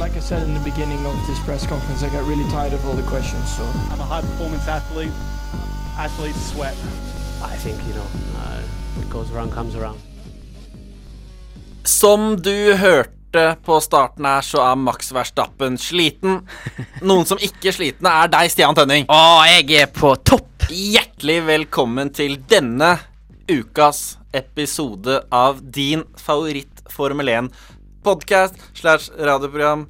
Like I said in the beginning of this press conference, I got really tired of all the questions. So I'm a high performance athlete. Athletes sweat. I think, you know, uh, what goes around comes around. Som du hørte på starten her, så er Max Verstappen sliten. Noen som ikke er slitne, er deg, Stian Tønning. Å, jeg er på topp! Hjertelig velkommen til denne ukas episode av din favoritt Formel 1-podkast slash radioprogram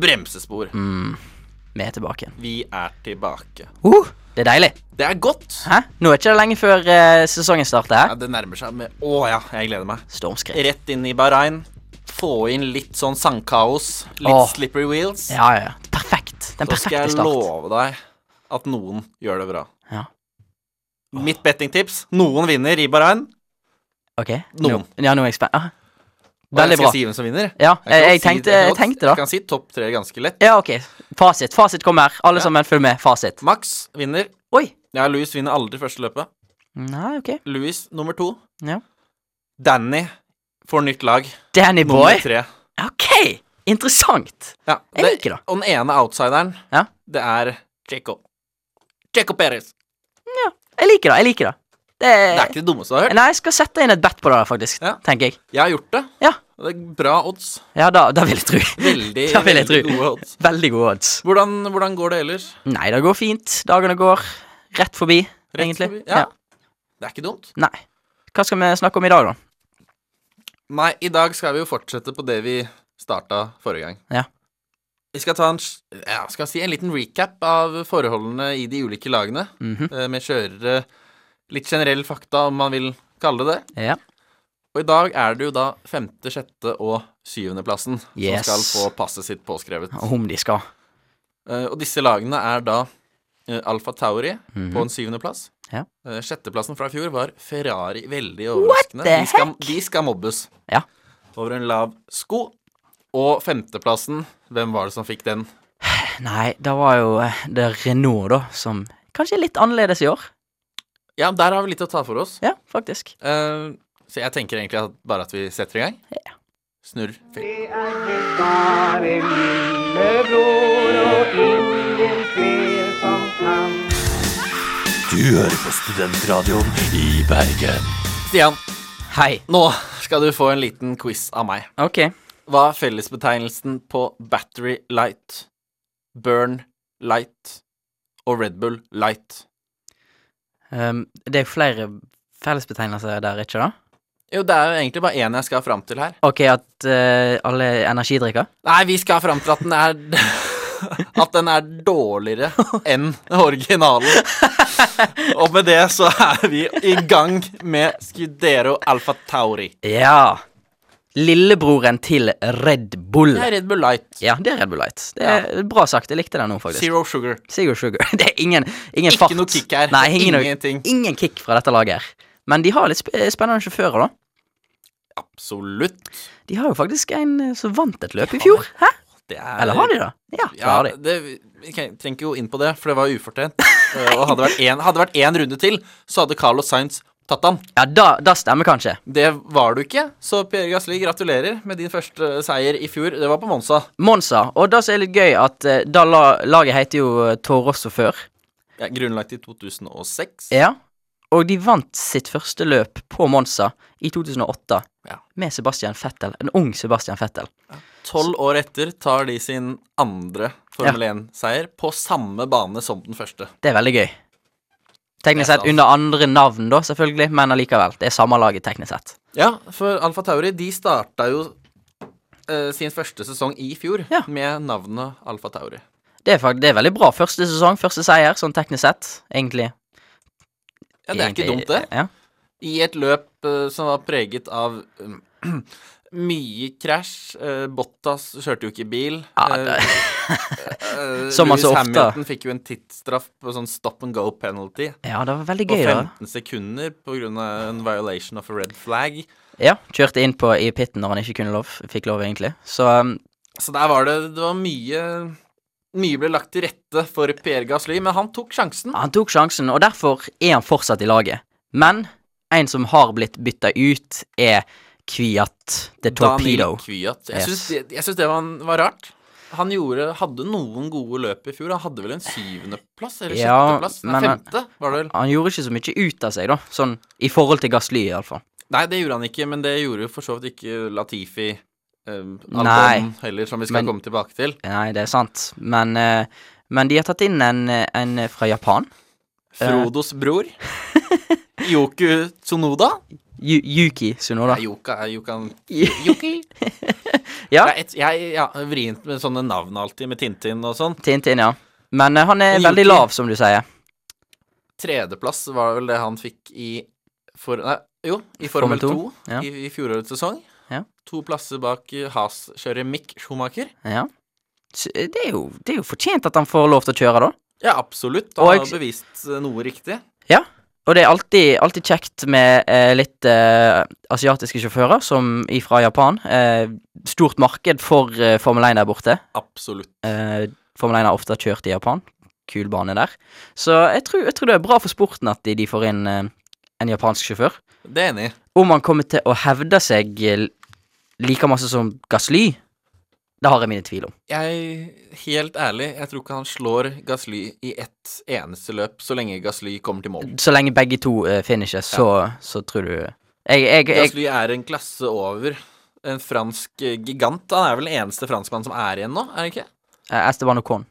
Bremsespor. Mm. Vi er tilbake igjen. Vi er tilbake. Uh, det er deilig. Det er godt. Hæ? Nå er ikke det lenge før eh, sesongen starter her. Ja, det nærmer seg med Å ja, jeg gleder meg. Stormskritt. Rett inn i Bahrain. Få inn litt sånn sandkaos. Litt Åh. slippery wheels. Ja, ja, ja. Perfekt. Den Så skal perfekte jeg start. love deg at noen gjør det bra. Ja. Mitt bettingtips noen vinner i Bahrain. Ok. Noen. Nå- Ja, nå er jeg spent. Ah. Og Veldig jeg skal bra. si hvem som vinner. Ja, jeg, kan jeg, si- tenkte, jeg jeg kan- tenkte Jeg da. kan si topp tre ganske lett. Ja, ok. Fasit. Fasit kommer her. Alle Ja. sammen, følg med. Fasit. Max vinner. Oi. Ja, Louis vinner aldri første løpet. Nei, ok. Louis nummer to. Ja. Danny får nytt lag. Danny Nummer boy. tre. Ok. Interessant. Ja, Jeg det- liker det. Og den ene outsideren, Ja. det er Checo. Checo Perez. Jeg liker det. Jeg liker det. Det Det er ikke det dummeste jeg har hørt. Nei, jeg skal sette inn et bet på det, faktisk. Ja. Tenker jeg. Jeg har gjort det. Ja. Og det er bra odds. Ja, da, da vil jeg tro. Veldig, Da vil jeg veldig tro. gode odds. Veldig gode odds. Hvordan, hvordan går det ellers? Nei, det går fint. Dagene går rett forbi, Rett egentlig. forbi? Ja. Det er ikke dumt. Nei. Hva skal vi snakke om i dag, da? Nei, i dag skal vi jo fortsette på det vi starta forrige gang. Ja. Vi skal ta en, s- ja, skal jeg si, en liten recap av forholdene i de ulike lagene, Mhm. eh, med kjørere Litt generell fakta, om man vil kalle det det. Ja. Og i dag er det jo da femte, sjette og syvendeplassen Yes. som skal få passet sitt påskrevet. Om de skal. Eh, og disse lagene er da eh, Alfa Tauri på en syvendeplass. Mhm. Ja. Eh, sjetteplassen fra i fjor var Ferrari. Veldig overraskende. the de, skal, de skal mobbes. Ja. Over en lav sko. Og femteplassen, hvem var det som fikk den? Nei, det var jo eh, det er Renault, da, som kanskje er litt annerledes i år. Ja, der har vi litt å ta for oss. Ja, faktisk. Eh, så jeg tenker egentlig at bare at vi setter i gang. Ja. Snurr film. Du hører på Studentradioen i Bergen. Stian, Hei. nå skal du få en liten quiz av meg. Ok. Hva er fellesbetegnelsen på battery light, burn light og Red Bull light? Um, det er jo flere fellesbetegnelser der, ikke da? Jo, det er jo egentlig bare én jeg skal fram til her. Ok, at eh, alle er energidrikker? Nei, vi skal fram til at den er At den er dårligere enn originalen. Og med det så er vi i gang med Scudero Alfa Tauri. Ja. Lillebroren til Red Bull. Det er Red Bull Light. Ja, det er Red Bull Light. Det er Bra sagt. Jeg likte den nå, faktisk. Zero Sugar. Sigurd Sugar. Det er ingen, ingen Ikke fart. noe kick her. Nei, ingen, Ingenting. ingen kick fra dette laget her. Men de har litt sp eh, spennende sjåfører, da. Absolutt. De har jo faktisk en eh, som vant et løp i fjor. Hæ? Det er Eller har de det? Ja, det Ja, har de. det, vi kan- trenger ikke gå inn på det, for det var ufortjent. Eh, Og hadde vært en- hadde vært én runde til, så hadde Carlos Sainz tatt han. Ja, da, da stemmer kanskje. Det var du ikke, så Pierre Gasli, gratulerer med din første seier i fjor. Det var på Monza. Monza. Og det som er litt gøy, at eh, da la, laget heter jo eh, Toro Rosso før. Ja, grunnlagt i 2006. Ja. Og de vant sitt første løp på Monza i 2008 Ja. med Sebastian Fettel. En ung Sebastian Fettel. Tolv år etter tar de sin andre Formel 1-seier på samme bane som den første. Det er veldig gøy. Det er Teknisk sett stas. under andre navn, da, selvfølgelig, men allikevel. Det er samme laget, teknisk sett. Ja, for Alfa Tauri de starta jo eh, sin første sesong i fjor Ja. med navnet Alfa Tauri. Det er, fakt- det er veldig bra. Første sesong, første seier, sånn teknisk sett, egentlig. Ja, Det er ikke egentlig- dumt, det. Ja. I et løp eh, som var preget av um, mye krasj. eh, Bottas kjørte jo ikke bil. Ja, Eh, det- eh, Som man Lewis så ofte. Hamilton fikk jo en tidsstraff på sånn stop and go penalty ja, det var veldig på gøy, da. 15 sekunder på grunn av en violation of a red flag. Ja, kjørte inn på i pitten når han ikke kunne lov, fikk lov, egentlig. Så um, Så der var det Det var mye Mye ble lagt til rette for Pierre Gasly, men han tok sjansen. han tok sjansen, og derfor er han fortsatt i laget. Men en som har blitt bytta ut, er Kviat the Torpedo. Kvyat. Jeg Yes. syns det, jeg syns det var, var rart. han gjorde, hadde noen gode løp i fjor. Han hadde vel en syvendeplass eller Ja, sjetteplass? men Nei, han- femte, var det vel? Han gjorde ikke så mye ut av seg, da. Sånn i forhold til Gasly, iallfall. Nei, det gjorde han ikke, men det gjorde for så vidt ikke Latifi. Um, Nei. heller, som vi skal Men- komme tilbake til. Nei, det er sant. Men, eh, men de har tatt inn en, en fra Japan. Eh. Frodos bror. Yoku Tsunoda. Yu Yuki Sunoda. Nei, Yoka er Yokan Yuki? ja, Det er et- Jeg ja, vrient med sånne navn alltid, med Tintin og sånn. Tintin, ja. Men eh, han er Men veldig Yuki- lav, som du sier. Tredjeplass var vel det han fikk i for, Nei, jo, i Formel, Formel to, 2, ja. i, i fjorårets sesong. Ja. To plasser bak eh, Haas-kjører Mick Schumacher. Ja. Så, eh, Det er, jo, det er jo fortjent at han får lov til å kjøre, da. Ja, absolutt. Og Han har jeg- bevist eh, noe riktig. Ja. Og det er alltid, alltid kjekt med eh, litt eh, asiatiske sjåfører som fra Japan. Eh, stort marked for eh, Formel 1 der borte. Absolutt. Eh, Formel 1 har ofte kjørt i Japan. Kul bane der. Så jeg tror, jeg tror det er bra for sporten at de, de får inn eh, en japansk sjåfør. Det er enig i. Om han kommer til å hevde seg eh, like masse som Gasly, det har jeg mine tvil om. Jeg, helt ærlig, jeg tror ikke han slår Gasly i ett eneste løp så lenge Gasly kommer til mål. Så lenge begge to uh, finisher, så, så tror du jeg, jeg, jeg, Gasly er en klasse over. En fransk eh, gigant. Han er vel den eneste franskmannen som er igjen nå, er han ikke? eh, Esteban Ocon.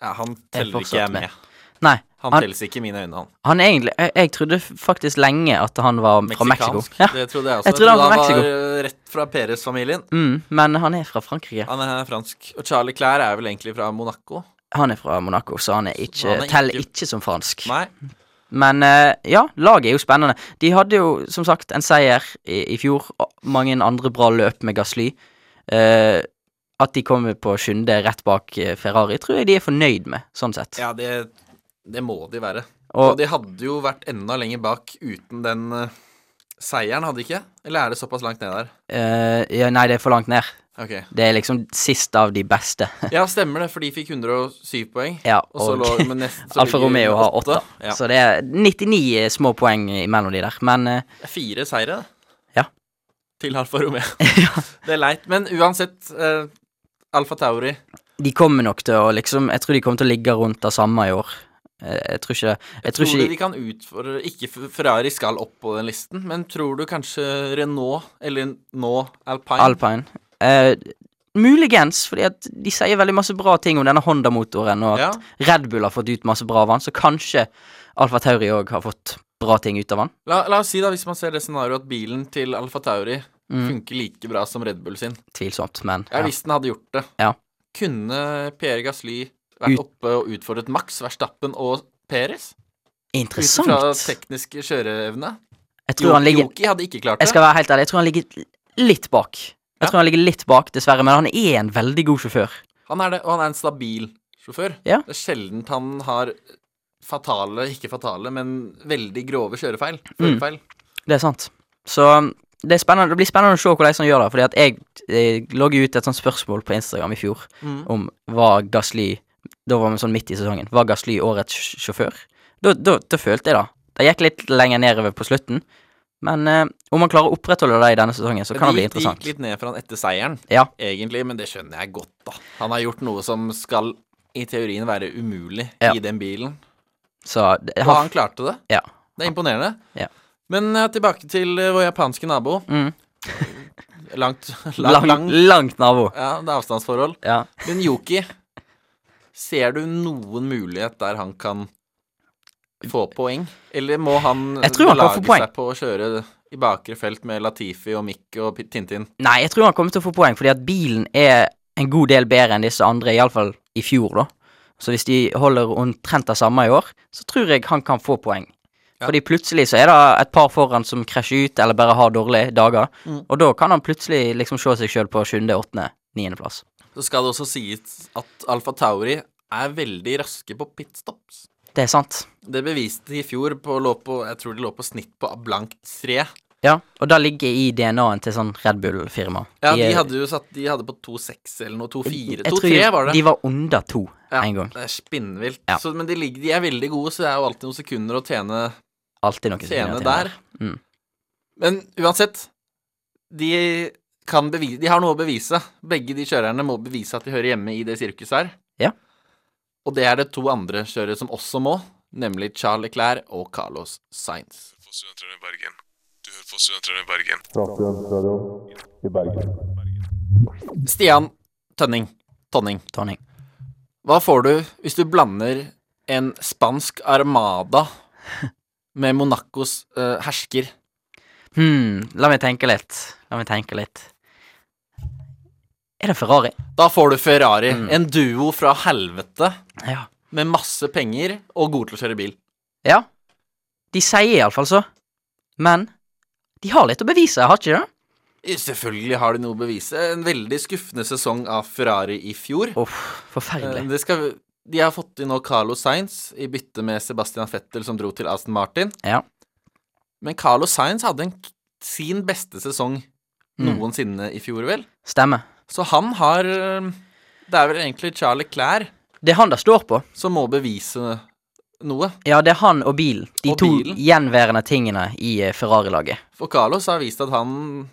Ja, han Er teller ikke fortsatt jeg med. med. Nei, Han, Han- telles ikke i mine øyne, han. han er egentlig Jeg, jeg trodde f- faktisk lenge at han var fra Mexico. Meksikansk. Ja. Det trodde jeg også. Jeg trodde han var fra var eh, rett fra Perez-familien. Mm, men han er fra Frankrike. Han er fransk. Og Charlie Clair er vel egentlig fra Monaco. Han er fra Monaco, så han er ikke, han er teller ikke- ikke som fransk. Nei. Men eh, ja, laget er jo spennende. De hadde jo som sagt en seier i, i fjor, og mange andre bra løp med Gasly. Eh, at de kommer på sjuende rett bak eh, Ferrari, tror jeg de er fornøyd med, sånn sett. Ja, det, det må de være. Og og de hadde jo vært enda lenger bak uten den eh, seieren, hadde de ikke? Eller er det såpass langt ned der? eh, ja, Nei, det er for langt ned. Ok. Det er liksom sist av de beste. Ja, stemmer det, for de fikk 107 poeng. ja, Og så lå men nest, så Alfa ligger Romeo med har åtte, Ja. så det er 99 små poeng imellom de der. Men eh, Det er Fire seire, det. Ja. Til Alfa Romeo. Det er leit. Men uansett, eh, Alfa Tauri de kommer nok til å liksom Jeg tror de kommer til å ligge rundt det samme i år. Eh, jeg tror ikke Jeg tror Tror ikke du de kan utfordre Ikke F- Ferrari skal opp på den listen, men tror du kanskje Renault, eller nå Alpine Alpine. Eh, muligens, fordi at de sier veldig masse bra ting om denne Honda-motoren, og Ja. at Red Bull har fått ut masse bra av han, så kanskje Alfa Tauri òg har fått bra ting ut av han. la, la oss si, da, hvis man ser det scenarioet, at bilen til Alfa Tauri funker like bra som Red Bull sin. Tvilsomt, men Ja, Mm. ja. Hvis den hadde gjort det. Ja. Kunne Pierre Gasly vært Ut- oppe og utfordret Max Verstappen og Perez? Ut interessant. fra teknisk kjøreevne? Jeg tror han ligger Yoki hadde ikke klart Jeg det. skal være helt ærlig, jeg tror han ligger litt bak. Jeg Ja. tror han ligger litt bak, dessverre, men han er en veldig god sjåfør. Han er det, og han er en stabil sjåfør. Ja. Det er sjelden han har fatale, ikke fatale, men veldig grove kjørefeil. Mm. Førerfeil. Det er sant. Så um, det, er spennende, det blir spennende å se hvordan han gjør det. Fordi at jeg, eh, lå jo ut et sånt spørsmål på Instagram i fjor Mm. om var Gasly Da var vi sånn midt i sesongen. Var Gasly årets sj- sjåfør? Da, da, da følte jeg det. Det gikk litt lenger nedover på slutten. Men eh, om han klarer å opprettholde det i denne sesongen, så kan det bli gikk- interessant. gikk litt ned for han etter seieren, Ja. egentlig, men det skjønner jeg godt, da. Han har gjort noe som skal i teorien være umulig Ja. i den bilen, Så det, og han han, klarte det. Ja. Det er imponerende. Ja. Men eh, tilbake til eh, vår japanske nabo. Mm. langt, langt, lang, langt. langt nabo. Ja, det er avstandsforhold. Ja. Men Yuki, ser du noen mulighet der han kan få poeng? Eller må han Jeg tror han kan få belage poeng. seg på å kjøre i bakre felt med Latifi og Mick og P- Tintin? Nei, jeg tror han kommer til å få poeng, fordi at bilen er en god del bedre enn disse andre, iallfall i fjor, da. Så hvis de holder omtrent det samme i år, så tror jeg han kan få poeng. Ja. Fordi plutselig så er det et par foran som krasjer ut, eller bare har dårlige dager. Mm. Og da kan han plutselig liksom se seg sjøl på sjuende, åttende, niendeplass. Så skal det også sies at Alfa Tauri er veldig raske på pitstops. Det er sant. Det beviste de i fjor på, lå på Jeg tror de lå på snitt på blankt tre. Ja, og det ligger i DNA-en til sånn Red Bull-firma. Ja, de hadde jo satt De hadde på 2-6 eller noe. 2-4. Jeg 2-3 tror var det. De var under to Ja, en gang. Det er spinnvilt. Ja. Så, men de, ligger, de er veldig gode, så det er jo alltid noen sekunder å tjene, Alltid noe som tjene tjener til det der. Mm. Men uansett De kan bevise De har noe å bevise. Begge de kjørerne må bevise at de hører hjemme i det sirkuset her. Ja. Og det er det to andre kjørere som også må, nemlig Charles Leclerc og Carlos Sainz. på Studentradioen i Bergen. Du hører på Studentradioen i Bergen. Stian Tønning. Tonning. Tonning. Hva får du hvis du blander en spansk armada med Monacos eh, hersker? Hmm, la meg tenke litt. La meg tenke litt. Er det Ferrari? Da får du Ferrari. En duo fra helvete Ja. med masse penger og gode til å kjøre bil. Ja. De sier iallfall så. Men de har litt å bevise, har ikke de det? Selvfølgelig har de noe å bevise. En veldig skuffende sesong av Ferrari i fjor. Uff, Eh, forferdelig. Det skal, de har fått inn nå Carlo Sainz i bytte med Sebastian Fettel, som dro til Aston Martin. Ja. Men Carlo Sainz hadde en, k- sin beste sesong Mm. noensinne i fjor, vel? Stemmer. Så han har eh, Det er vel egentlig Charlie Clair Det er han det står på. som må bevise noe. Ja, det er han og bilen. De Og to bilen. gjenværende tingene i eh, Ferrari-laget. For Carlos har vist at han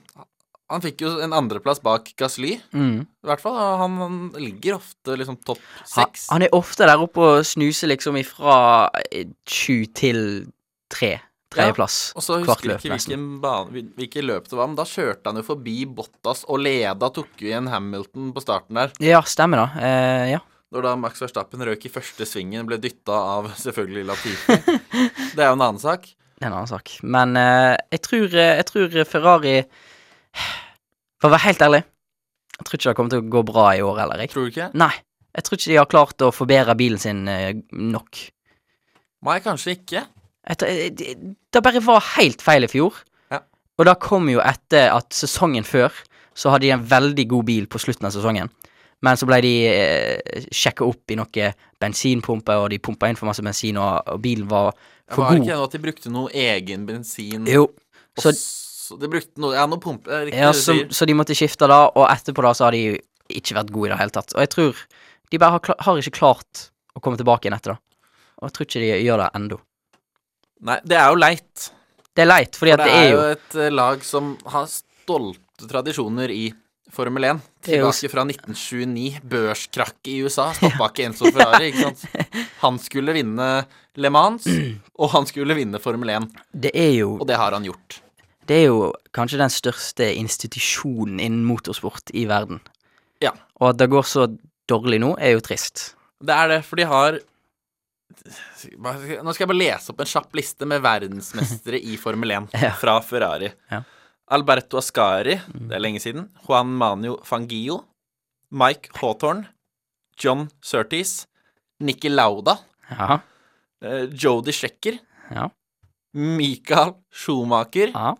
Han fikk jo en andreplass bak Gasly, i Mm. hvert fall. og Han, han ligger ofte liksom topp Ha, seks. han er ofte der oppe og snuser liksom ifra eh, sju til tre. Tredjeplass. Og så Kvart husker jeg løp, ikke nesten. hvilken bane, hvil- hvilke løp det var, men da kjørte han jo forbi Bottas og leda, tok jo igjen Hamilton på starten der. Ja, stemmer da. Eh, ja. Når da Max Verstappen røk i første svingen, ble dytta av selvfølgelig Latifi. Det er jo en annen sak. Det er en annen sak. Men eh, jeg, tror, eh, jeg tror Ferrari For å være helt ærlig, jeg tror ikke det kommer til å gå bra i år heller. Jeg. Tror du ikke? Nei. Jeg tror ikke de har klart å forbedre bilen sin eh, nok. Nei, kanskje ikke. Jeg tror- eh, de- Det bare var helt feil i fjor. Ja. Og det kom jo etter at sesongen før så hadde de en veldig god bil på slutten av sesongen. Men så ble de eh, sjekka opp i noen bensinpumper, og de pumpa inn for masse bensin, og, og bilen var Jeg for var god. ikke enig at de brukte noe egen bensin. Jo. og Så s- de brukte noe Ja, noe pumpe. det er Riktig, Ja, det du så, sier. så de måtte skifte da, og etterpå da så har de ikke vært gode i det hele tatt. Og jeg tror de bare har, kla- har ikke klart å komme tilbake igjen etter det. Og jeg tror ikke de gjør det ennå. Nei, det er jo leit. Det er leit, fordi For at det er jo et eh, lag som har stolte tradisjoner i Formel 1. Det er jo- Tilbake fra 1929. Børskrakk i USA. Stoppa ikke Enzo Ferrari, ikke sant. Han skulle vinne Le Mans, og han skulle vinne Formel 1. Det er jo, Og det har han gjort. det er jo kanskje den største institusjonen innen motorsport i verden. Ja. Og at det går så dårlig nå, er jo trist. Det er det, for de har Hva skal jeg- Nå skal jeg bare lese opp en kjapp liste med verdensmestere i Formel 1 Ja. fra Ferrari. Ja. Mm. Alberto Ascari, det er lenge siden. Juan Manio Fangio. Mike Hawthorne. John Surtees. Nikki Lauda. Ja. eh, Jody Schecker. Ja. Michael Schumacher. ja.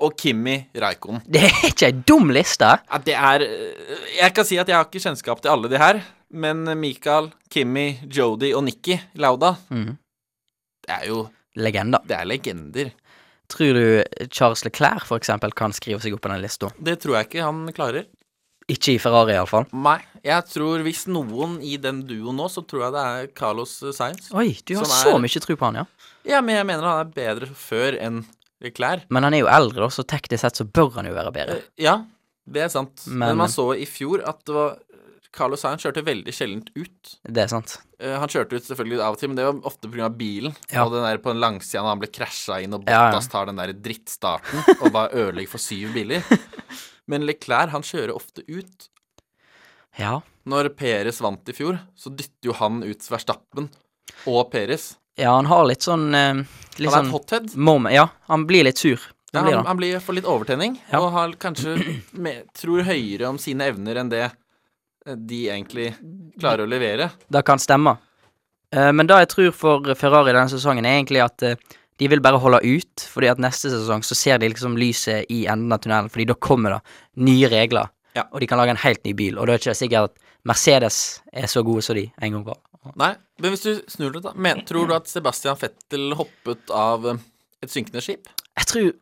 Og Kimi Raikon. Det er ikke ei dum liste. Ja, det er eh, Jeg kan si at jeg har ikke kjennskap til alle de her, men Michael, Kimi, Jody og Nikki Lauda, Mm. det er jo Legenda. Det er legender. Tror du Charles Leclerc for eksempel kan skrive seg opp på den lista? Det tror jeg ikke han klarer. Ikke i Ferrari, iallfall. Nei, jeg tror hvis noen i den duoen nå, så tror jeg det er Carlos Sainz. Oi, du har Som så er- mye tro på han, ja. Ja, men jeg mener han er bedre før enn klær. Men han er jo eldre, da, så teknisk sett så bør han jo være bedre. Ja, det er sant. Men, Men- man så i fjor at det var Carlos Sainz kjørte veldig sjeldent ut. Det er sant. Eh, Han kjørte ut selvfølgelig av og til, men det var ofte pga. bilen. Ja. Og den der på den langsida når han ble krasja inn, og Ja, ja. Bottas tar den der drittstarten og bare ødelegger for syv biler. Men Leclerc, han kjører ofte ut. Ja. Når Peres vant i fjor, så dytter jo han ut Verstappen og Peres. ja, han har litt sånn eh, Litt Han er et sånn hothead. moment. Ja, han blir litt sur. Ja, Det han, blir han. han blir for litt overtenning, Ja. og har kanskje me- tror høyere om sine evner enn det eh, de egentlig klarer å levere. Det kan stemme. Eh, men det jeg tror for Ferrari denne sesongen, er egentlig at eh, de vil bare holde ut, fordi at neste sesong så ser de liksom lyset i enden av tunnelen, fordi da kommer det nye regler, Ja. og de kan lage en helt ny bil, og da er det ikke sikkert at Mercedes er så gode som de en gang var. Nei, men hvis du snur det, da. Men, tror du at Sebastian Fettel hoppet av eh, et synkende skip? Jeg tror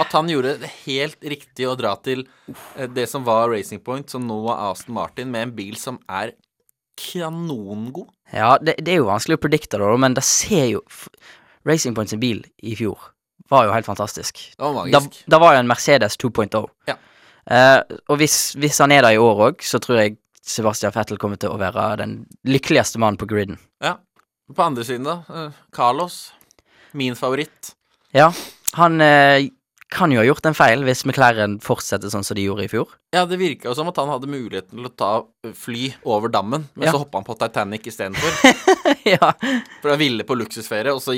At han gjorde det helt riktig å dra til eh, det som var Racing Point, som nå er Aston Martin, med en bil som er kanongod? Ja, det, det er jo vanskelig å predikte det, da, men det ser jo f- Racing Point sin bil i fjor var jo helt fantastisk. Det var Da, magisk. da var jo en Mercedes 2.0. Ja. oh. Eh, og hvis, hvis han er der i år òg, så tror jeg Sebastian Fettel kommer til å være den lykkeligste mannen på griden. Ja. På andre siden, da. eh, Carlos. Min favoritt. Ja, han eh, kan jo ha gjort en feil hvis McLaren fortsetter sånn som de gjorde i fjor. Ja, det virka jo som at han hadde muligheten til å ta eh, fly over dammen, men Ja. så hoppa han på Titanic istedenfor. ja, For han ville på luksusferie, og så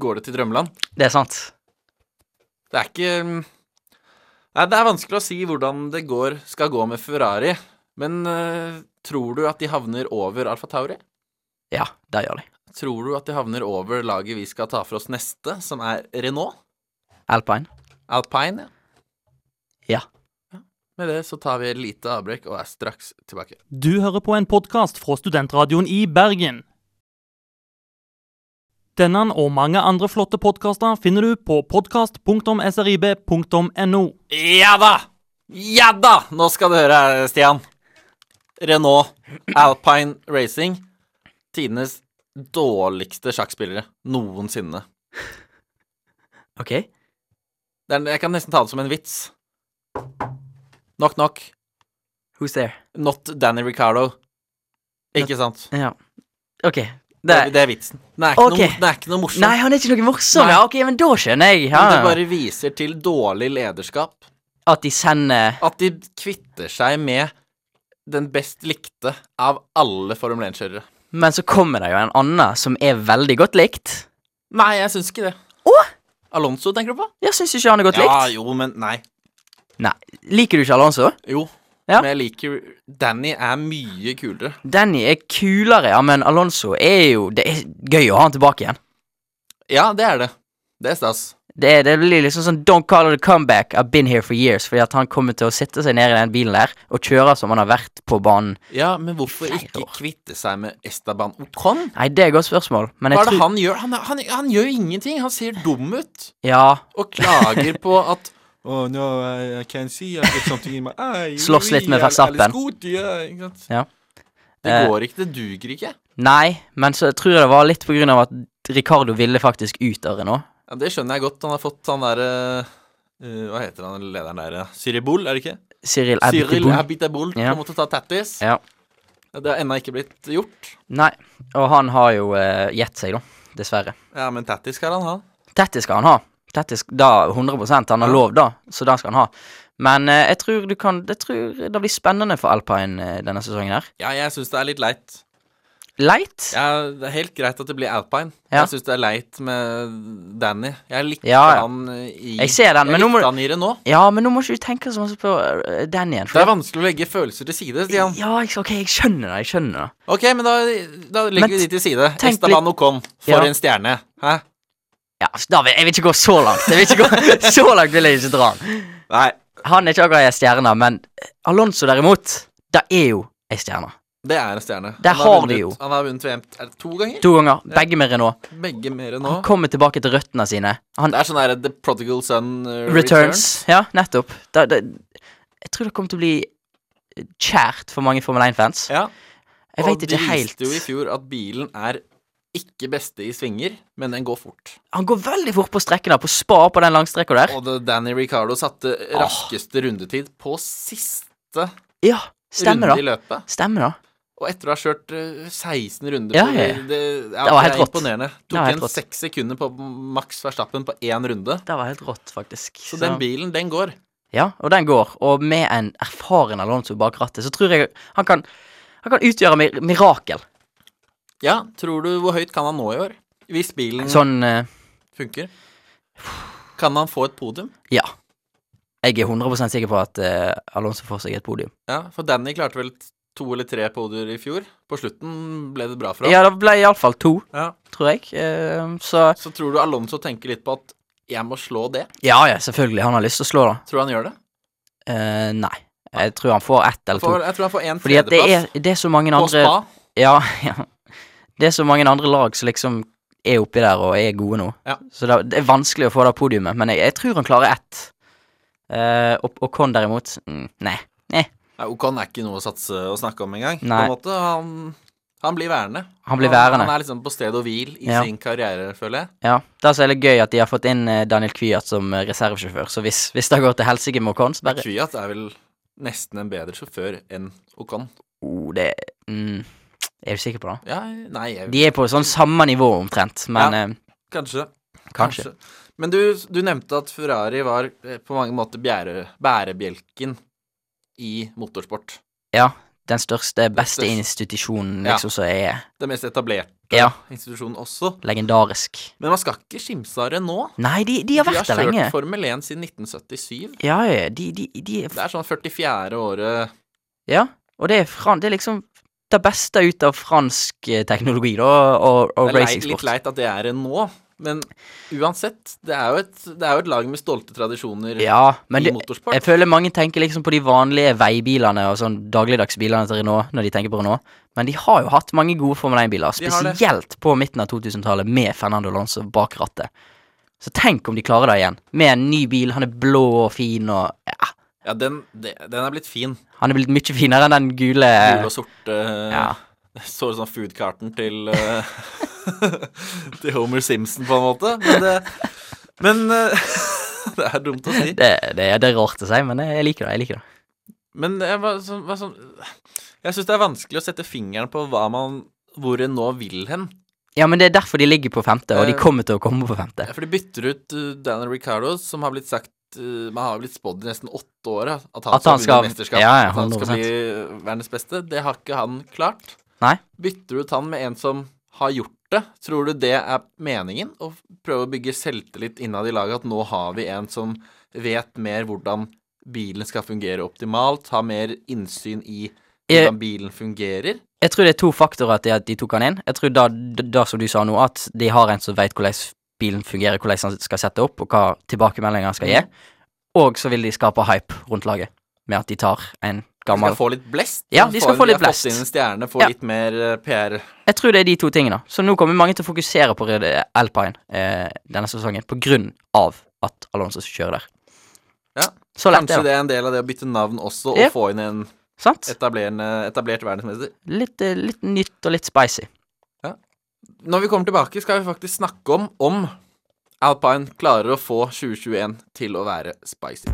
går det til drømmeland. det er sant. Det er ikke mm, Nei, det er vanskelig å si hvordan det går, skal gå med Ferrari, men eh, tror du at de havner over Alfa Tauri? Ja, der gjør de. Tror du at de havner over laget vi skal ta for oss neste, som er Renault? Alpine. Alpine, ja. Ja. Med det så tar vi et lite avbrekk og er straks tilbake. Du hører på en podkast fra studentradioen i Bergen. Denne og mange andre flotte podkaster finner du på podkast.srib.no. Ja da! Ja da! Nå skal du høre, Stian. Renault Alpine Racing. Tidenes dårligste sjakkspillere noensinne. Ok. Det er, jeg kan nesten ta det som en vits. Knock, knock. Who's there? Not Danny Ricardo. Ikke sant? Ja. Ok. Det, Det det er vitsen. Den er ikke, Ok. noe, den er ikke noe morsom. Nei, han er ikke noe morsom. Nei. Ja, ok, men da skjønner jeg. Men det Ja. bare viser til dårlig lederskap. At de sender At de kvitter seg med den best likte av alle Formel 1-kjørere. Men så kommer det jo en annen som er veldig godt likt. Nei, jeg syns ikke det. Alonso, tenker du på? Jeg syns ikke han er godt Ja, likt. jo, men nei. Nei. Liker du ikke Alonso? Jo. Ja. Men jeg liker Danny er mye kulere. Danny er kulere, ja, men Alonso er jo Det er gøy å ha han tilbake igjen. Ja, det er det. Det er stas. Det, er- det blir liksom sånn Don't call it a comeback, I've been here for years. Fordi at han kommer til å sitte seg ned i den bilen der og kjøre som han har vært på banen. Ja, men hvorfor Flere ikke år. kvitte seg med Estaban Ocon? Nei, det er et godt spørsmål, men jeg Hva er det tror han gjør? Han, er- han, han gjør ingenting. Han ser dum ut. Ja, Og klager på at Oh no, I, I can't see. I get something in my eye. Slåss litt med Verstappen. Ja. Det Eh. går ikke, det duger ikke. Nei, men så tror jeg det var litt på grunn av at Ricardo ville faktisk ut av Renault. Ja, det skjønner jeg godt. Han har fått han derre Hva heter han lederen der? eh, Cyribol, er det ikke? Cyril Cyril Abitibol. Habitabol. Ja. Han måtte ta tattis. Ja. Det har ennå ikke blitt gjort. Nei, og han har jo eh, gitt seg, da. Dessverre. Ja, men tattis skal han ha. Dette skal han ha. Dette sk da 100 Han har lov, da, så det skal han ha. Men eh, jeg tror du kan Jeg tror det blir spennende for Alpine eh, denne sesongen her. Ja, jeg syns det er litt leit. Leit? Ja. Ja, det er helt greit at det blir alpine. Ja. Jeg syns det er leit med Danny. Jeg likte Ja, ja. han eh, i Jeg ser den, jeg men nå må likte du- han i Renault. men nå må ikke du tenke så masse på eh, den igjen. Det er vanskelig å legge følelser til side, Stian. ja, jeg, ok, jeg skjønner det. Jeg skjønner det. Ok, men da, da legger Men vi de til side. tenk Estaban Ocon, for Ja. en stjerne. Hæ? Ja, så da vil, jeg vil ikke gå så langt. Jeg vil ikke gå, så langt vil jeg ikke dra han. Nei, Han er ikke akkurat ei stjerne, men eh, Alonso derimot, det er jo ei stjerne. det er en stjerne. Det Han har vunnet, de jo. Han har vunnet VM er det to ganger. To ganger, begge med Renault. Begge mer enn nå. Han kommer tilbake til røttene sine. Han Det er sånn der The Prodigal Son eh, returns. Ja, nettopp. Da, da, jeg tror det kommer til å bli kjært for mange Formel 1-fans. Ja. Jeg vet Og de ikke viste jo i helt. fjor at bilen er ikke beste i svinger, men den går fort. Han går veldig fort på strekkene, på spa på den langstrekka der. Og da Danny Ricardo satte raskeste rundetid på siste Ja, stemmer runde i da. løpet. Stemmer da. Og etter å ha kjørt eh, 16 runder Ja, på ja, ja. Det, ja, Det var er helt rått. imponerende. Det var Tok helt igjen rått. seks sekunder på Max Verstappen på én runde. Det var helt rått, faktisk. Så den bilen, den går. Ja, og den går. Og med en erfaren Alonso bak rattet, så tror jeg han kan, han kan utgjøre mir mirakel. Ja, tror du hvor høyt kan han nå i år? Hvis bilen Sånn eh, funker. Kan han få et podium? Ja. Jeg er 100 sikker på at eh, Alonso får seg et podium. Ja, for Danny klarte vel to eller tre podier i fjor. På slutten ble det bra for ham. Ja, det ble iallfall to, Ja. tror jeg. Eh, så Så tror du Alonso tenker litt på at jeg må slå det? Ja, ja, selvfølgelig. Han har lyst til å slå, da. Tror du han gjør det? Eh, nei. Jeg tror han får ett eller For, to. jeg tror han får en Fordi at det er, tredjeplass det er så mange på andre spa. Ja, ja. Det er så mange andre lag som liksom er oppi der og er gode nå. Ja. Så det, det er vanskelig å få det podiumet, men jeg, jeg tror han klarer ett. Eh, og, og Con derimot mm, Nei. Nei, Ocon er ikke noe å satse og snakke om engang. På Nei. en måte. Han, Han blir værende. Han blir værende. Han, er liksom på stedet og hvil i Ja. sin karriere, føler jeg. Ja. Det er så jævlig gøy at de har fått inn eh, Daniel Kvyat som eh, reservesjåfør, så hvis, hvis det går til helsike med Ocon, så bare Kvyat er vel nesten en bedre sjåfør enn Ocon. oh, det mm, Jeg er du sikker på det? Ja, nei, jeg, De er på sånn samme nivå omtrent, men Ja. eh, kanskje. kanskje. Men du, du nevnte at Ferrari var eh, på mange måter bjære, bærebjelken i motorsport. Ja. Den største, beste største. institusjonen Ja. liksom som er Den mest etablerte Ja, institusjonen også. legendarisk. Men man skal ikke skimse av det nå. Nei, de, de har vært der kjørt lenge. Formel 1 siden 1977. Ja, ja, de, de, de er Det er sånn 44. året Ja, og det er, fran det er liksom det beste ut av fransk eh, teknologi da, og, og Det er lei, litt racingsport. leit at det er det nå, men uansett. Det er jo et, det er jo et lag med stolte tradisjoner Ja, men i det, motorsport. jeg føler mange tenker liksom på de vanlige veibilene og sånn dagligdagsbilene til Renault når de tenker på Renault, men de har jo hatt mange gode Formel 1-biler, De har det. spesielt på midten av 2000-tallet med Fernando Alonso bak rattet. Så tenk om de klarer det igjen, med en ny bil, han er blå og fin og ja, Ja, den, det- den er blitt fin. han er blitt mye finere enn den gule Gule og sorte Eh, Ja. Så ut som foodcarten til eh, Til Homer Simpson, på en måte. Men det, men, eh, det er dumt å si. Det, det, det er rart å si, men jeg liker det, jeg liker det. Men jeg, var sånn- var sånn, jeg syns det er vanskelig å sette fingeren på hva man hvor en nå vil hen. Ja, men det er derfor de ligger på femte, og de Eh, kommer til å komme på femte. For de bytter ut uh, Daniel Ricardo, som har blitt sagt uh, Man har blitt spådd i nesten åtte år ja, at han At han skal vinne skal- mesterskap. ja, ja, at han skal 100%. bli uh, verdens beste. Det har ikke han klart. Nei. Bytter du ut han med en som har gjort det, tror du det er meningen? Å prøve å bygge selvtillit innad i laget, at nå har vi en som vet mer hvordan bilen skal fungere optimalt, har mer innsyn i Jeg- hvordan bilen fungerer? Jeg tror det er to faktorer til at de tok han inn. Jeg tror da, da, da som du sa nå, at de har en som veit hvordan bilen fungerer, hvordan han skal sette opp, og hva tilbakemeldinger han skal gi. Og så vil de skape hype rundt laget, med at de tar en De skal gammel få litt blest. Ja, de skal får- få litt har blest. Fått inn en stjerne, få Ja. litt mer uh, PR. Jeg tror det er de to tingene. Så nå kommer mange til å fokusere på Red- Alpine eh, denne sesongen, på grunn av at Alonso kjører der. Ja, Så lett Kanskje det, det er en del av det å bytte navn også, og Ja. få inn en da. Sant? etablerende, etablert verdensmester. Litt, eh, litt nytt og litt spicy. Når vi kommer tilbake, skal vi faktisk snakke om om Alpine klarer å få 2021 til å være spicy.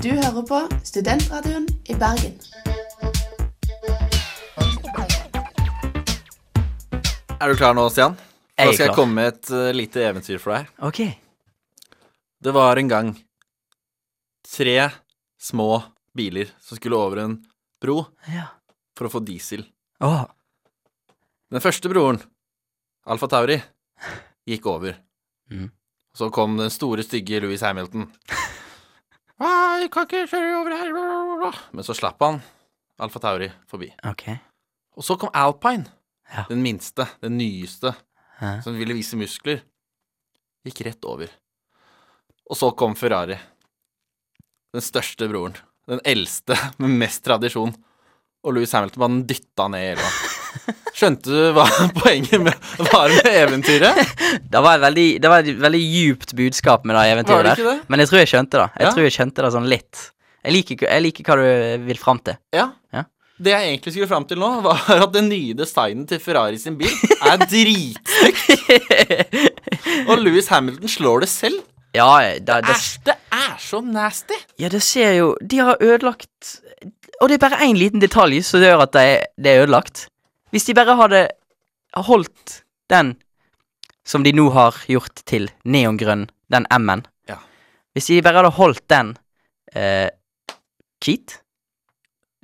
Du hører på Studentradioen i Bergen. Er du klar nå, Stian? Jeg Nå er skal jeg klar. komme med et eh, lite eventyr for deg. Ok. Det var en gang tre små biler som skulle over en bro Ja. for å få diesel. Åh, Den første broren, Alfa Tauri, gikk over. Mhm. Så kom den store, stygge Louis Hamilton. «Nei, jeg kan ikke kjøre over her. bla, bla, bla, bla». Men så slapp han Alfa Tauri forbi. ok. Og så kom Alpine, Ja. den minste, den nyeste, Ja. som ville vise muskler. Gikk rett over. Og så kom Ferrari. Den største broren. Den eldste med mest tradisjon. Og Louis Hamilton bare den dytta ned i elva. Skjønte du hva poenget med, var med eventyret? Det var et veldig, det var et veldig djupt budskap med det Var eventyret det der. ikke det? Men jeg tror jeg skjønte det. Jeg Ja. tror jeg skjønte det sånn litt. Jeg liker, jeg liker hva du vil fram til. Ja. Ja. Det jeg egentlig skulle fram til nå, var at den nye designen til Ferrari sin bil er dritstygt. Og Louis Hamilton slår det selv. Ja, eh, det, det, Æsj, det er så nasty. ja, det ser jo De har ødelagt Og det er bare én liten detalj som gjør at det er, det er ødelagt. Hvis de bare hadde holdt den som de nå har gjort til neongrønn, den M-en Ja. Hvis de bare hadde holdt den eh, hvit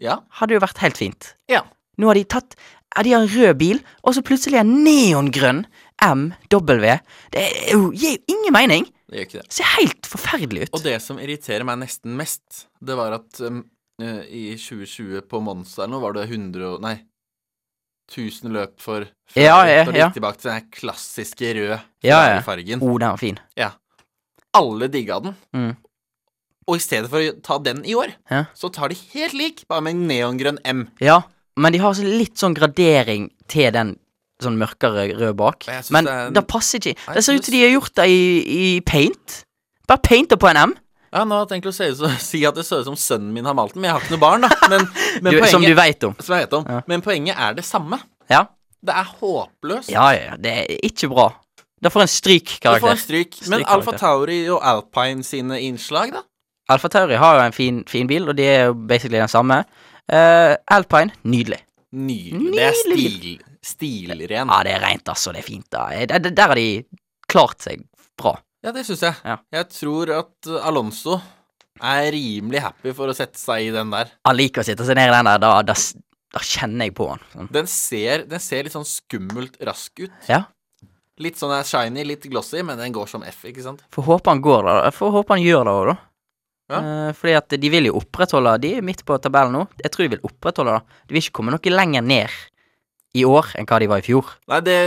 Ja. hadde jo vært helt fint. Ja. Nå har de tatt ja, De har en rød bil, og så plutselig en neongrønn MW. Det er jo, gir jo ingen mening. Det gjør ikke det. Det ser helt forferdelig ut. Og det som irriterer meg nesten mest, det var at um, eh, i 2020 på Monza eller noe, var det 100 og Nei, 1000 løp for Ferrari, Ja, ja, og ja. gikk tilbake til den her klassiske røde Ja, ja. Ferrari-fargen. oh, den var fin. Alle digga den. Mm. Og i stedet for å ta den i år, Ja. så tar de helt lik, bare med en neongrønn M. Ja, men de har så litt sånn gradering til den sånn mørkere rød bak. Jeg synes Men det er det, en- passer ikke. Nei, Det ser jeg ut som de har gjort det i, i paint. Bare painter på en M. Ja, nå har jeg tenkt å se ut som, si at det ser ut som sønnen min har malt den, men jeg har ikke noe barn, da. Men, men Du, poenget, som du veit om. som jeg vet om. Ja. Men poenget er det samme. Ja. Det er håpløst. ja, ja, ja, det er ikke bra. Da Du får får en en strykkarakter. stryk. Men Strykkarakter. Alfa Tauri og Alpine sine innslag, da? Alfa Tauri har jo en fin, fin bil, og de er jo basically den samme. Eh, Alpine, nydelig. Nydelig. Det er Nydelig. stil, stilren. Ja, det er rent, altså. Det er fint. da Eh, Der, der har de klart seg bra. Ja, det syns jeg. Ja. Jeg tror at uh, Alonso er rimelig happy for å sette seg i den der. Han liker å sitte seg ned i den der, da, da, s- da kjenner jeg på han. Sånn. Den ser, den ser litt sånn skummelt rask ut. Ja. Litt sånn er shiny, litt glossy, men den går som F, ikke sant? Får håpe han går da. Får håpe han gjør det òg, da. Ja. Eh, fordi at de vil jo opprettholde De er midt på tabellen nå. Jeg tror de vil opprettholde det. De vil ikke komme noe lenger ned i år enn hva de var i fjor. Nei, det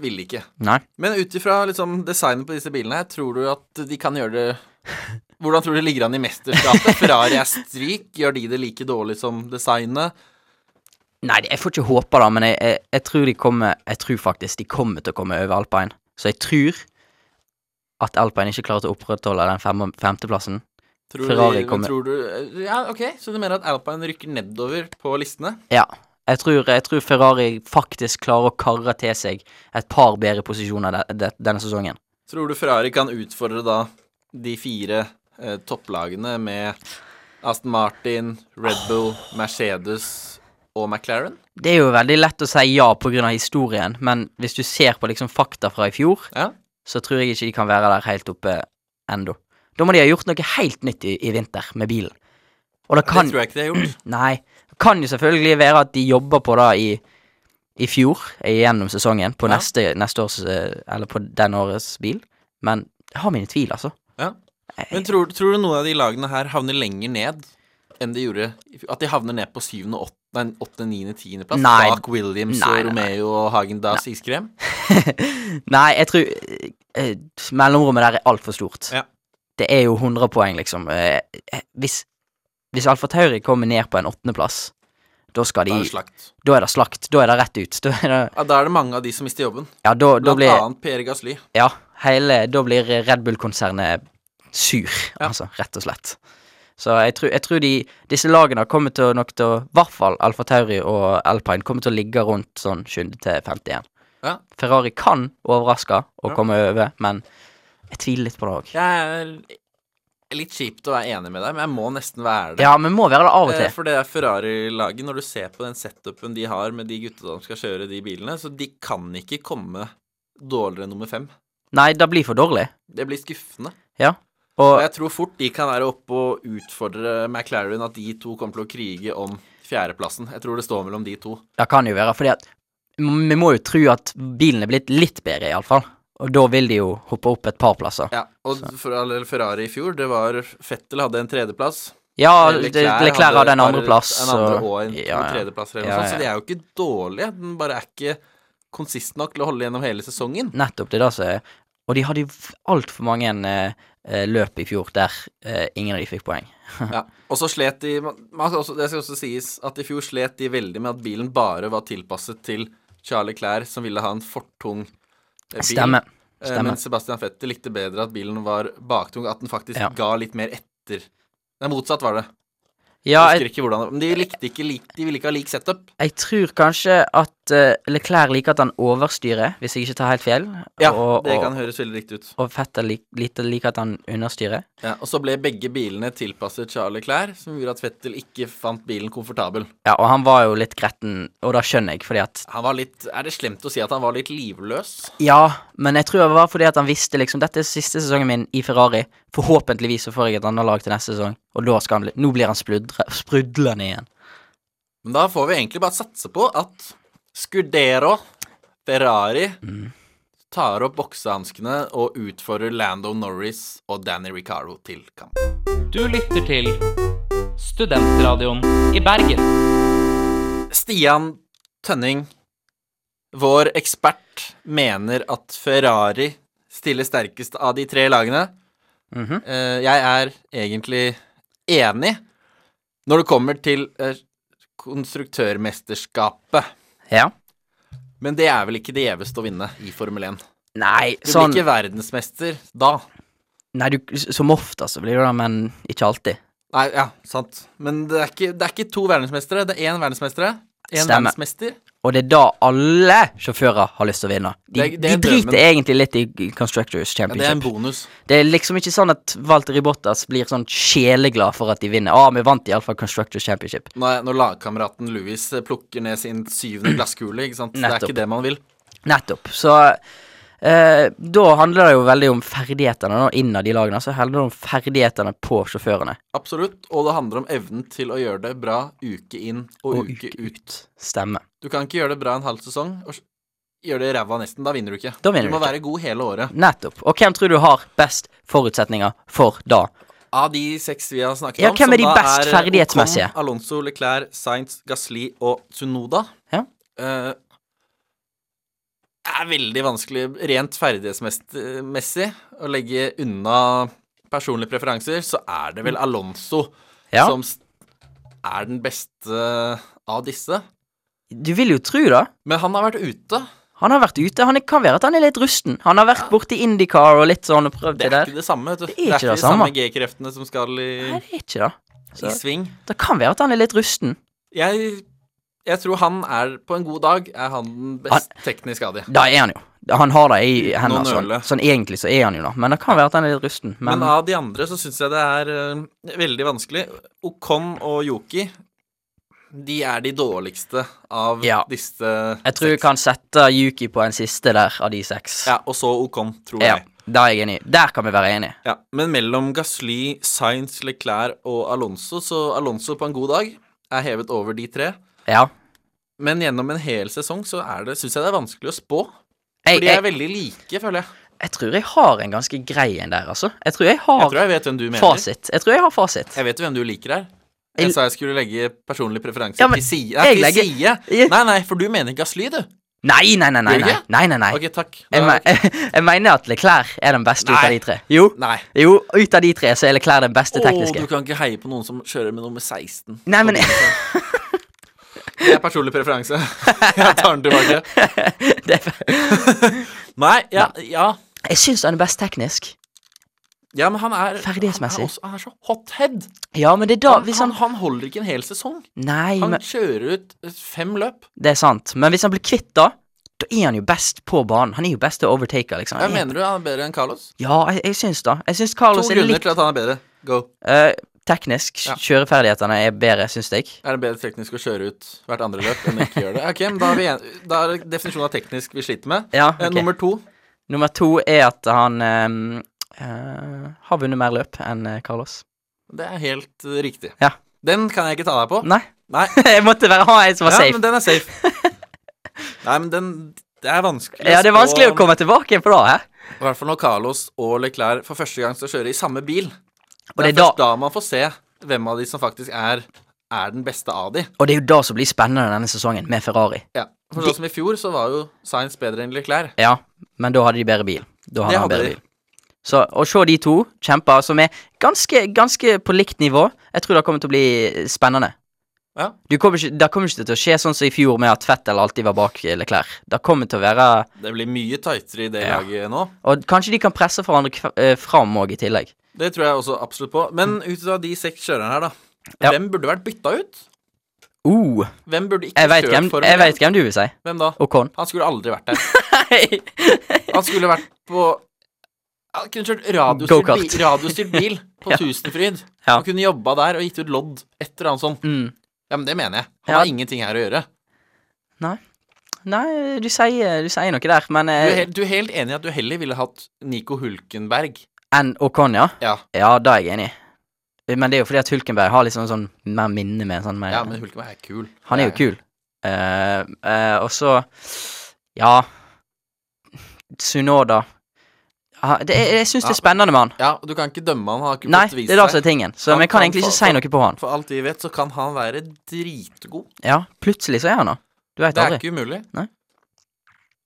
vil de ikke. Nei. Men ut ifra liksom, designet på disse bilene her, tror du at de kan gjøre det Hvordan tror du det ligger an i mesterskapet? Ferrari er stryk, gjør de det like dårlig som designet? Nei, jeg får ikke håpe da, men jeg, jeg, jeg tror de kommer Jeg tror faktisk de kommer til å komme over alpine. Så jeg tror at alpine ikke klarer til å opprettholde den fem, femteplassen. Tror Ferrari de, kommer- Tror du, ja, ok, så du mener at Alpine rykker nedover på listene? Ja. Jeg tror, jeg tror Ferrari faktisk klarer å karre til seg et par bedre posisjoner de, de, denne sesongen. Tror du Ferrari kan utfordre da de fire eh, topplagene med Aston Martin, Red Bull, Mercedes og McLaren? Det er jo veldig lett å si ja pga. historien, men hvis du ser på liksom fakta fra i fjor, Ja. så tror jeg ikke de kan være der helt oppe ennå. Da må de ha gjort noe helt nytt i, i vinter med bilen. Og det kan Det tror jeg ikke de har gjort. Nei. Det kan jo selvfølgelig være at de jobber på det i, i fjor, eh, gjennom sesongen, på Ja. neste, neste års eh, Eller på den årets bil, men jeg har mine tvil, altså. Men tror, tror du noen av de lagene her havner lenger ned enn de gjorde i fjor? At de havner ned på syvende, åtte- nei, åttende, niende, tiendeplass Nei. bak Williams Nei, og nei, nei. Romeo og Hagen Das iskrem? Nei, jeg tror eh, eh, mellomrommet der er altfor stort. Ja. Det er jo 100 poeng, liksom. Eh, eh, hvis hvis Alfa Tauri kommer ned på en åttendeplass, da skal Da de er det slakt. Da er det slakt. Da er det rett ut. Da er det, Ja, da er det mange av de som mister jobben. ja, da, da Blant blir annet Per Gasly. Ja, hele Da blir Red Bull-konsernet sur, Ja. altså, rett og slett. Så jeg tror, jeg tror de, disse lagene kommer til å nok til å I hvert fall Alfa Tauri og Alpine kommer til å ligge rundt sånn 7. til 51. Ja. Ferrari kan overraske og Ja. komme over, men jeg tviler litt på det òg. Jeg er litt kjipt å være enig med deg, men jeg må nesten være det. Ja, men må være det av og Eh, til. For det er Ferrari-laget, når du ser på den setupen de har med de gutta som skal kjøre de bilene, så de kan ikke komme dårligere enn nummer fem. Nei, det blir for dårlig. Det blir skuffende. Og Og jeg tror fort de kan være oppe og utfordre McLaren, at de to kommer til å krige om fjerdeplassen. Jeg tror det står mellom de to. det kan jo være, fordi at vi må jo tro at bilen er blitt litt bedre, iallfall. Og da vil de jo hoppe opp et par plasser. Ja, og for all del Ferrari i fjor, det var Fettel hadde en tredjeplass. Ja, Leclerc Leclerc Leclerc hadde en bare andreplass. En andre så- og en ja, ja. tredjeplass, eller noe Ja, sånt, ja. så de er jo ikke dårlige. Den bare er ikke konsist nok til å holde gjennom hele sesongen. Nettopp, det er det som er Og de hadde jo altfor mange eh, eh, løp i fjor der eh, ingen av de fikk poeng. Ja. Og så slet de man- man skal også, Det skal også sies at i fjor slet de veldig med at bilen bare var tilpasset til Charlie Clair, som ville ha en fortung eh, bil. Stemme. Eh, Stemmer. Men Sebastian Fettel likte bedre at bilen var baktung, at den faktisk Ja. ga litt mer etter. Nei, motsatt var det. Ja, jeg jeg, husker ikke hvordan det Men de likte ikke lik, De ville ikke ha lik setup. jeg tror kanskje at eh, Leclerc liker at han overstyrer, hvis jeg ikke tar helt feil. Ja, og, det og, kan høres veldig riktig ut. og Fetter lik, lite liker at han understyrer. Ja, og så ble begge bilene tilpasset Charlie Clair, som gjorde at Fettel ikke fant bilen komfortabel. Ja, og han var jo litt gretten, og det skjønner jeg, fordi at Han var litt Er det slemt å si at han var litt livløs? Ja, men jeg tror det var fordi at han visste liksom Dette er siste sesongen min i Ferrari. Forhåpentligvis så får jeg et annet lag til neste sesong, og da skal han bli Nå blir han sprudre- sprudlende igjen. Men da får vi egentlig bare satse på at Scudero, Ferrari, tar opp boksehanskene og utfordrer Lando Norris og Danny Ricardo til kamp. Du lytter til Studentradioen i Bergen. Stian Tønning, vår ekspert, mener at Ferrari stiller sterkest av de tre lagene. Mhm. Eh, jeg er egentlig enig når det kommer til eh, konstruktørmesterskapet. Ja. Men det er vel ikke det gjeveste å vinne i Formel 1. Nei, Du sånn blir ikke verdensmester da. Nei, du, som oftest så blir du det, men ikke alltid. Nei, ja, sant. Men det er ikke, det er ikke to verdensmestere, det er én verdensmestere. Én Stemmer. verdensmester. Og det er da alle sjåfører har lyst til å vinne. De, Det er- det er de driter drømmen. egentlig litt i Constructors Ja, det er en Championship. bonus. det er liksom ikke sånn at Walter Ribottas blir sånn sjeleglad for at de vinner. Ah, vi vant iallfall Constructors Championship. Når, når lagkameraten Louis eh, plukker ned sin syvende glasskule, ikke sant. Det Nettopp. er ikke det man vil. Nettopp. Så eh, da handler det jo veldig om ferdighetene nå, innad i lagene. Så handler det om ferdighetene på sjåførene. Absolutt. Og det handler om evnen til å gjøre det bra uke inn og, Og uke, uke ut. Stemme. Du kan ikke gjøre det bra en halv sesong og s- gjøre det ræva nesten. Da vinner du ikke. Da vinner du må du ikke. være god hele året. Nettopp. Og hvem tror du har best forutsetninger for da? Av de seks vi har snakket Ja, om, hvem er de som da best er ferdighetsmessige? Ocon, Alonso, Leclerc, Sainz, Gasli og Sunoda. Ja. er veldig vanskelig rent ferdighetsmessig å legge unna personlige preferanser, så er det vel Alonso Ja. som s- er den beste av disse. Du vil jo tro det. Men han har vært ute. Han har vært ute. Han er, kan være at han er litt rusten. Han har vært borti Indycar og litt sånn og Det prøvd det er der. ikke det samme. vet du. Det er ikke det de samme. samme G-kreftene som skal i, Nei, det er ikke det. i Så sving. det kan være at han er litt rusten. Jeg, jeg tror han er På en god dag er han den best teknisk av de. Da er han jo. Han har det i Noen hendene. Sånn. øle. sånn egentlig så er han jo det. Men det kan være at han er litt rusten. Men, Men, av de andre så syns jeg det er eh, veldig vanskelig. Okon og Yoki de er de dårligste av Ja. disse jeg tror vi kan sette Yuki på en siste der av de seks. Ja, og så Okon, tror Ja, jeg. da er jeg enig. Der kan vi være enige. Ja, Men mellom Gasly, Sainz, Leclerc og Alonso, så Alonso på en god dag er hevet over de tre. Ja. Men gjennom en hel sesong så er det, syns jeg det er vanskelig å spå. Jeg, For de er jeg, veldig like, føler jeg. jeg tror jeg har en ganske grei en der, altså. Jeg tror jeg har Jeg tror jeg vet hvem du mener. fasit. Jeg tror jeg har fasit. Jeg vet jo hvem du liker her. Jeg- Jeg sa jeg skulle legge personlige preferanser Ja, men til side. Nei, jeg til legger- side. nei, nei, for du mener Gasly, du. Nei, nei, nei, nei. Gjør du Nei, ikke? nei, nei, nei. Ok, takk. Da- Jeg, me jeg mener at Leclerc er den beste ut av Nei. de tre. Jo, Nei. jo, ut av de tre så er Leclerc den beste Å, tekniske. du kan ikke heie på noen som kjører med nummer 16. Nei, men Det er personlig preferanse. Jeg tar den tilbake. det, er- Nei, ja, ja. Jeg syns han er best teknisk. ja men han er Han Ferdighetsmessig. er, også, han er så hothead. Ja, men det er da Han, hvis han, han han holder ikke en hel sesong. Nei, Han men kjører ut fem løp. det er sant. Men hvis han blir kvitt, da, da er han jo best på banen. Han er jo best til å overtake, liksom. Jeg Han er- mener du han er bedre enn Carlos? Ja, jeg, jeg syns da. Jeg syns To Carlos er grunner litt til at han er bedre. Go. eh, Teknisk. Ja. Kjøreferdighetene er bedre, syns jeg. Er det bedre teknisk å kjøre ut hvert andre løp enn å ikke gjøre det? Ok, men Da er, vi en, da er det definisjonen av teknisk vi sliter med. Ja, Eh, ok. Nummer to Nummer to er at han ehm, eh, har vunnet mer løp enn eh, Carlos. Det er helt eh, riktig. Ja. Den kan jeg ikke ta deg på. Nei, Nei. jeg måtte bare ha en som var Ja, safe. men den er safe. Nei, men den Det er vanskelig Ja, det er vanskelig å spå- komme tilbake på det her. I hvert fall når Carlos og Leclerc for første gang skal kjøre i samme bil. Og det er det er da- først da man får se hvem av de som faktisk er, er den beste av de. Og det er jo det som blir spennende denne sesongen, med Ferrari. Ja. For sånn som i fjor, så var jo Sainz bedre enn Leclerc. Ja, men da hadde de bedre bil. Da hadde Det han hadde bedre de. bil. Så å se de to kjemper som er ganske, ganske på likt nivå, jeg tror det kommer til å bli spennende. Ja. Du kommer ikke, det kommer ikke til å skje sånn som i fjor, med at Fettel alltid var bak eh, Leclerc. Det kommer til å være Det blir mye tightere i det Ja. laget nå. Og kanskje de kan presse hverandre kv- eh, fram òg, i tillegg. Det tror jeg også absolutt på. Men ut av de seks kjørerne her, da. Mm. Ja. Hvem burde vært bytta ut? Uh, Hvem burde ikke jeg veit hvem, kjørt Formel jeg vet 1? hvem du vil si. Hvem da? Ocon. Han skulle aldri vært der. Nei. Han skulle vært på Han kunne kjørt radiostyrt, Go-kart. bil, radiostyrt bil på Ja. Tusenfryd. Ja. Han kunne jobba der og gitt ut lodd. Et eller annet sånt. Mm. Ja, men det mener jeg. Han Ja. har ingenting her å gjøre. Nei, du sier, du sier noe der, men Du er, eh, helt, du er helt enig i at du heller ville hatt Nico Hulkenberg. Enn Ocon, ja? Ja. Ja, da er jeg enig. Men det er jo fordi at Hulkenberg har liksom sånn mer minne med en sånn mer Ja, men Hulkenberg er kul. Han er jo Det kul. Eh, eh, og så Ja. Sunoda Ha- det, Jeg, jeg syns det Ja. er spennende med han. Ja, og du kan ikke dømme han, han har ikke Nei, fått det vist er det som er seg. tingen. Så Han vi kan kan egentlig ikke fa- si noe på han. For alt vi vet, så kan han være dritgod. Ja, plutselig så er han da. Du veit Det er aldri. ikke umulig. Nei.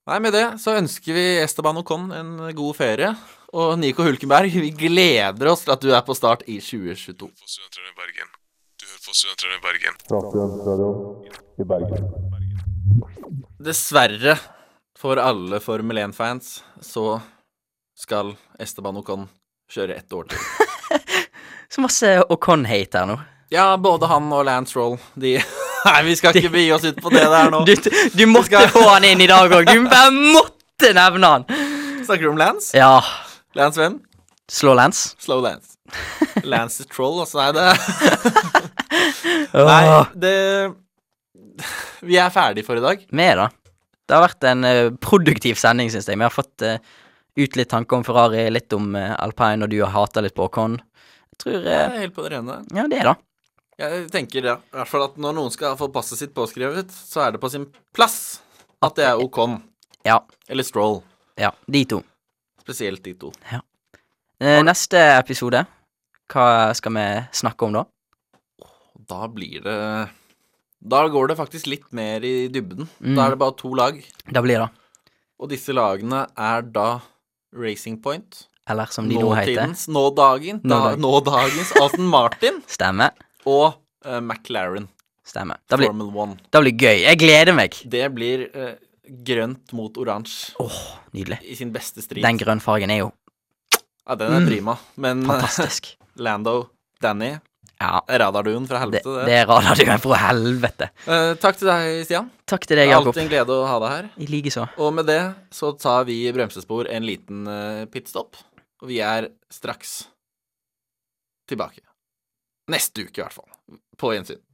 Nei, med det så ønsker vi Esteban Ocon en god ferie. Og Nico Hulkenberg, vi gleder oss til at du er på start i 2022. For studentradioen i Bergen. Du hører på studentradioen i Bergen. Dessverre for alle Formel 1-fans så skal Esteban Ocon Kjøre ett år til. Så masse Ocon-hate her nå. Ja, både han og Lance Roll, de Nei, vi skal ikke begi oss ut på det der nå. Du, du måtte skal- få han inn i dag òg. Du bare måtte nevne han. Snakker du om Lance? Ja. Lance hvem? Slå Lance. Slow Lance. Lance the Troll, altså. Nei, det Nei, det Vi er ferdig for i dag. Med, da. Det har vært en eh, produktiv sending, syns jeg. Vi har fått eh, ut litt tanker om Ferrari, litt om eh, alpine, og du har hata litt på Ocon. Jeg tror Det eh, er helt på det rene. Ja, det, da. Jeg tenker det, i hvert fall at når noen skal få passet sitt påskrevet, så er det på sin plass at det er Ocon Ja. eller Stroll. Ja, de to. Spesielt de to. Eh, neste episode, hva skal vi snakke om da? Da blir det Da går det faktisk litt mer i dybden. Mm. Da er det bare to lag, Det blir det. og disse lagene er da Racing Point, Eller som de nå heter. nåtidens, nå dagen, da, Nå-dagen. nå dagens Aston Martin Stemme. og eh, McLaren Stemme. Det blir, Formel 1. det blir gøy. Jeg gleder meg. Det blir eh, grønt mot oransje Åh, nydelig. i sin beste strid. Den grønnfargen er jo ja, den er Mm. prima, men eh, fantastisk. Lando, Danny, Ja. radarduen fra Det, helvete. det Det. er radioduen fra helvete. Eh, takk til deg, Stian. Takk til deg, Jakob. Alltid en glede å ha deg her. I likeså. Og med det så tar vi i bremsespor en liten eh, pitstop, og vi er straks tilbake. Neste uke, i hvert fall. På gjensyn.